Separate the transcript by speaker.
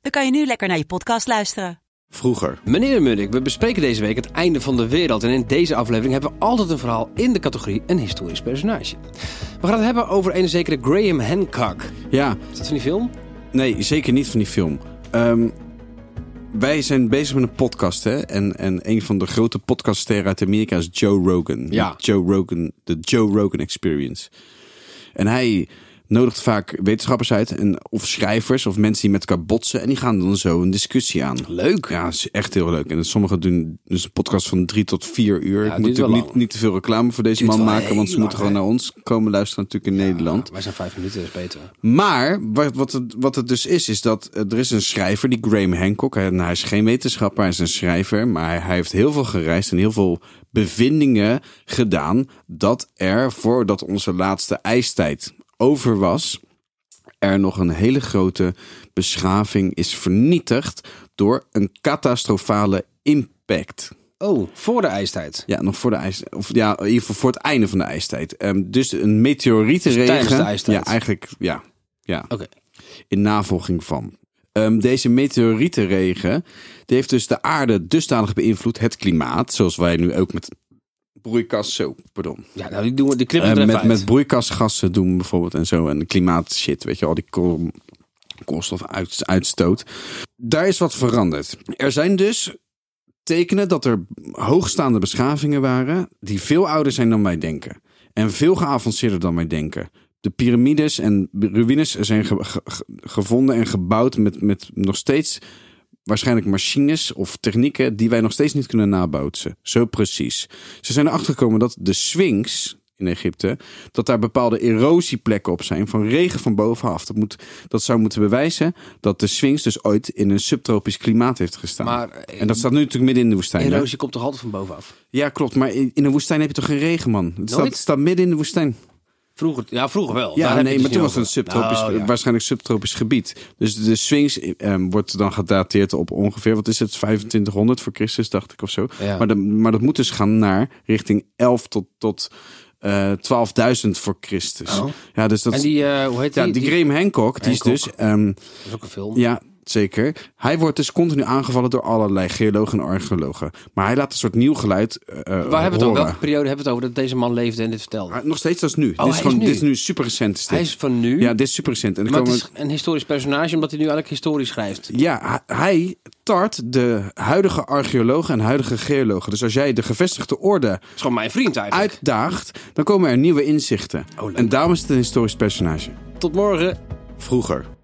Speaker 1: dan kan je nu lekker naar je podcast luisteren.
Speaker 2: Vroeger.
Speaker 3: Meneer Munnik, we bespreken deze week het einde van de wereld. En in deze aflevering hebben we altijd een verhaal in de categorie een historisch personage. We gaan het hebben over een zekere Graham Hancock.
Speaker 2: Ja,
Speaker 3: Is dat van die film?
Speaker 2: nee, zeker niet van die film. Ehm, wij zijn bezig met een podcast, hè? En, en een van de grote podcaststerren uit Amerika is Joe Rogan.
Speaker 3: Ja.
Speaker 2: Joe Rogan, de Joe Rogan Experience. En hij nodigt vaak wetenschappers uit, en, of schrijvers, of mensen die met elkaar botsen. En die gaan dan zo een discussie aan. Leuk. Ja, is echt heel leuk. En sommigen doen dus een podcast van drie tot vier uur. Ik
Speaker 3: duurt
Speaker 2: moet
Speaker 3: wel
Speaker 2: natuurlijk
Speaker 3: lang.
Speaker 2: niet, niet te veel reclame voor deze
Speaker 3: Duurt
Speaker 2: man
Speaker 3: wel
Speaker 2: maken,
Speaker 3: heel
Speaker 2: want ze moeten
Speaker 3: lang,
Speaker 2: gewoon naar ons komen luisteren natuurlijk in Nederland.
Speaker 3: Ja, wij zijn vijf minuten, dat is beter.
Speaker 2: Maar wat, wat, het, wat het dus is, is dat eh, er is een schrijver, die Graham Hancock. En hij is geen wetenschapper, hij is een schrijver. Maar hij, hij heeft heel veel gereisd en heel veel bevindingen gedaan. Dat er, voordat onze laatste ijstijd over was, er nog een hele grote beschaving is vernietigd door een catastrofale impact.
Speaker 3: Oh, voor de ijstijd.
Speaker 2: Ja, nog voor de ijs, of ja, in ieder geval voor het einde van de ijstijd. Ehm, dus een meteorietenregen.
Speaker 3: Dus tijdens de ijstijd.
Speaker 2: Ja, eigenlijk, ja, ja
Speaker 3: Oké.
Speaker 2: in navolging van. Ehm, deze meteorietenregen die heeft dus de aarde dusdanig beïnvloed, het klimaat, zoals wij nu ook met broeikas, zo, pardon,
Speaker 3: Ja, nou, die, doen we, die knippen
Speaker 2: Eh,
Speaker 3: we er
Speaker 2: met,
Speaker 3: even
Speaker 2: met
Speaker 3: uit.
Speaker 2: broeikasgassen doen bijvoorbeeld en zo en klimaat shit, weet je, al die kool- koolstofuitstoot. Daar is wat veranderd. Er zijn dus tekenen dat er hoogstaande beschavingen waren die veel ouder zijn dan wij denken. En veel geavanceerder dan wij denken. De piramides en ruïnes zijn ge- ge- ge- gevonden en gebouwd met, met nog steeds waarschijnlijk machines of technieken die wij nog steeds niet kunnen nabootsen. Zo precies. Ze zijn erachter gekomen dat de Sphinx in Egypte, dat daar bepaalde erosieplekken op zijn van regen van bovenaf. Dat, moet, dat zou moeten bewijzen dat de Sphinx dus ooit in een subtropisch klimaat heeft gestaan.
Speaker 3: Maar, eh,
Speaker 2: en dat staat nu natuurlijk midden in de woestijn. hè?
Speaker 3: Erosie komt toch altijd van bovenaf?
Speaker 2: Ja, klopt. Maar in in een woestijn heb je toch geen regen, man? Het staat,
Speaker 3: Nooit?
Speaker 2: staat midden in de woestijn.
Speaker 3: Vroeger, ja, vroeger wel. Daar
Speaker 2: Ja,
Speaker 3: heb je
Speaker 2: nee, maar
Speaker 3: dus
Speaker 2: toen
Speaker 3: niet
Speaker 2: was het een
Speaker 3: over.
Speaker 2: subtropisch, eh,
Speaker 3: Nou, ja.
Speaker 2: waarschijnlijk subtropisch gebied. Dus de Sphinx eh, wordt dan gedateerd op ongeveer, wat is het, 2500 voor Christus, dacht ik of zo.
Speaker 3: Ja.
Speaker 2: Maar, de- maar dat moet dus gaan naar richting 11 tot, tot eh 12.000 voor Christus.
Speaker 3: Oh.
Speaker 2: Ja, dus dat
Speaker 3: En
Speaker 2: is-
Speaker 3: die, eh, hoe heet
Speaker 2: ja, die, Graham Hancock, die
Speaker 3: Hancock.
Speaker 2: is dus... ehm,
Speaker 3: Dat is ook een film.
Speaker 2: ja, zeker. Hij wordt dus continu aangevallen door allerlei geologen en archeologen. Maar hij laat een soort nieuw geluid eh,
Speaker 3: Waar hebben we het
Speaker 2: horen.
Speaker 3: over? Welke periode hebben we het over dat deze man leefde en dit vertelde?
Speaker 2: Ah, Nog steeds, dat is nu.
Speaker 3: Oh, hij
Speaker 2: dit,
Speaker 3: is
Speaker 2: is gewoon,
Speaker 3: nu.
Speaker 2: dit is nu super recent. Is dit.
Speaker 3: Hij is van nu.
Speaker 2: Ja, dit is super recent. En dan
Speaker 3: maar
Speaker 2: komen
Speaker 3: het is een historisch personage omdat hij nu eigenlijk historisch schrijft.
Speaker 2: Ja, h- hij tart de huidige archeologen en huidige geologen. Dus als jij de gevestigde orde
Speaker 3: is gewoon mijn vriend eigenlijk.
Speaker 2: uitdaagt, dan komen er nieuwe inzichten.
Speaker 3: Oh, leuk.
Speaker 2: en daarom is het een historisch personage.
Speaker 3: Tot morgen.
Speaker 2: Vroeger.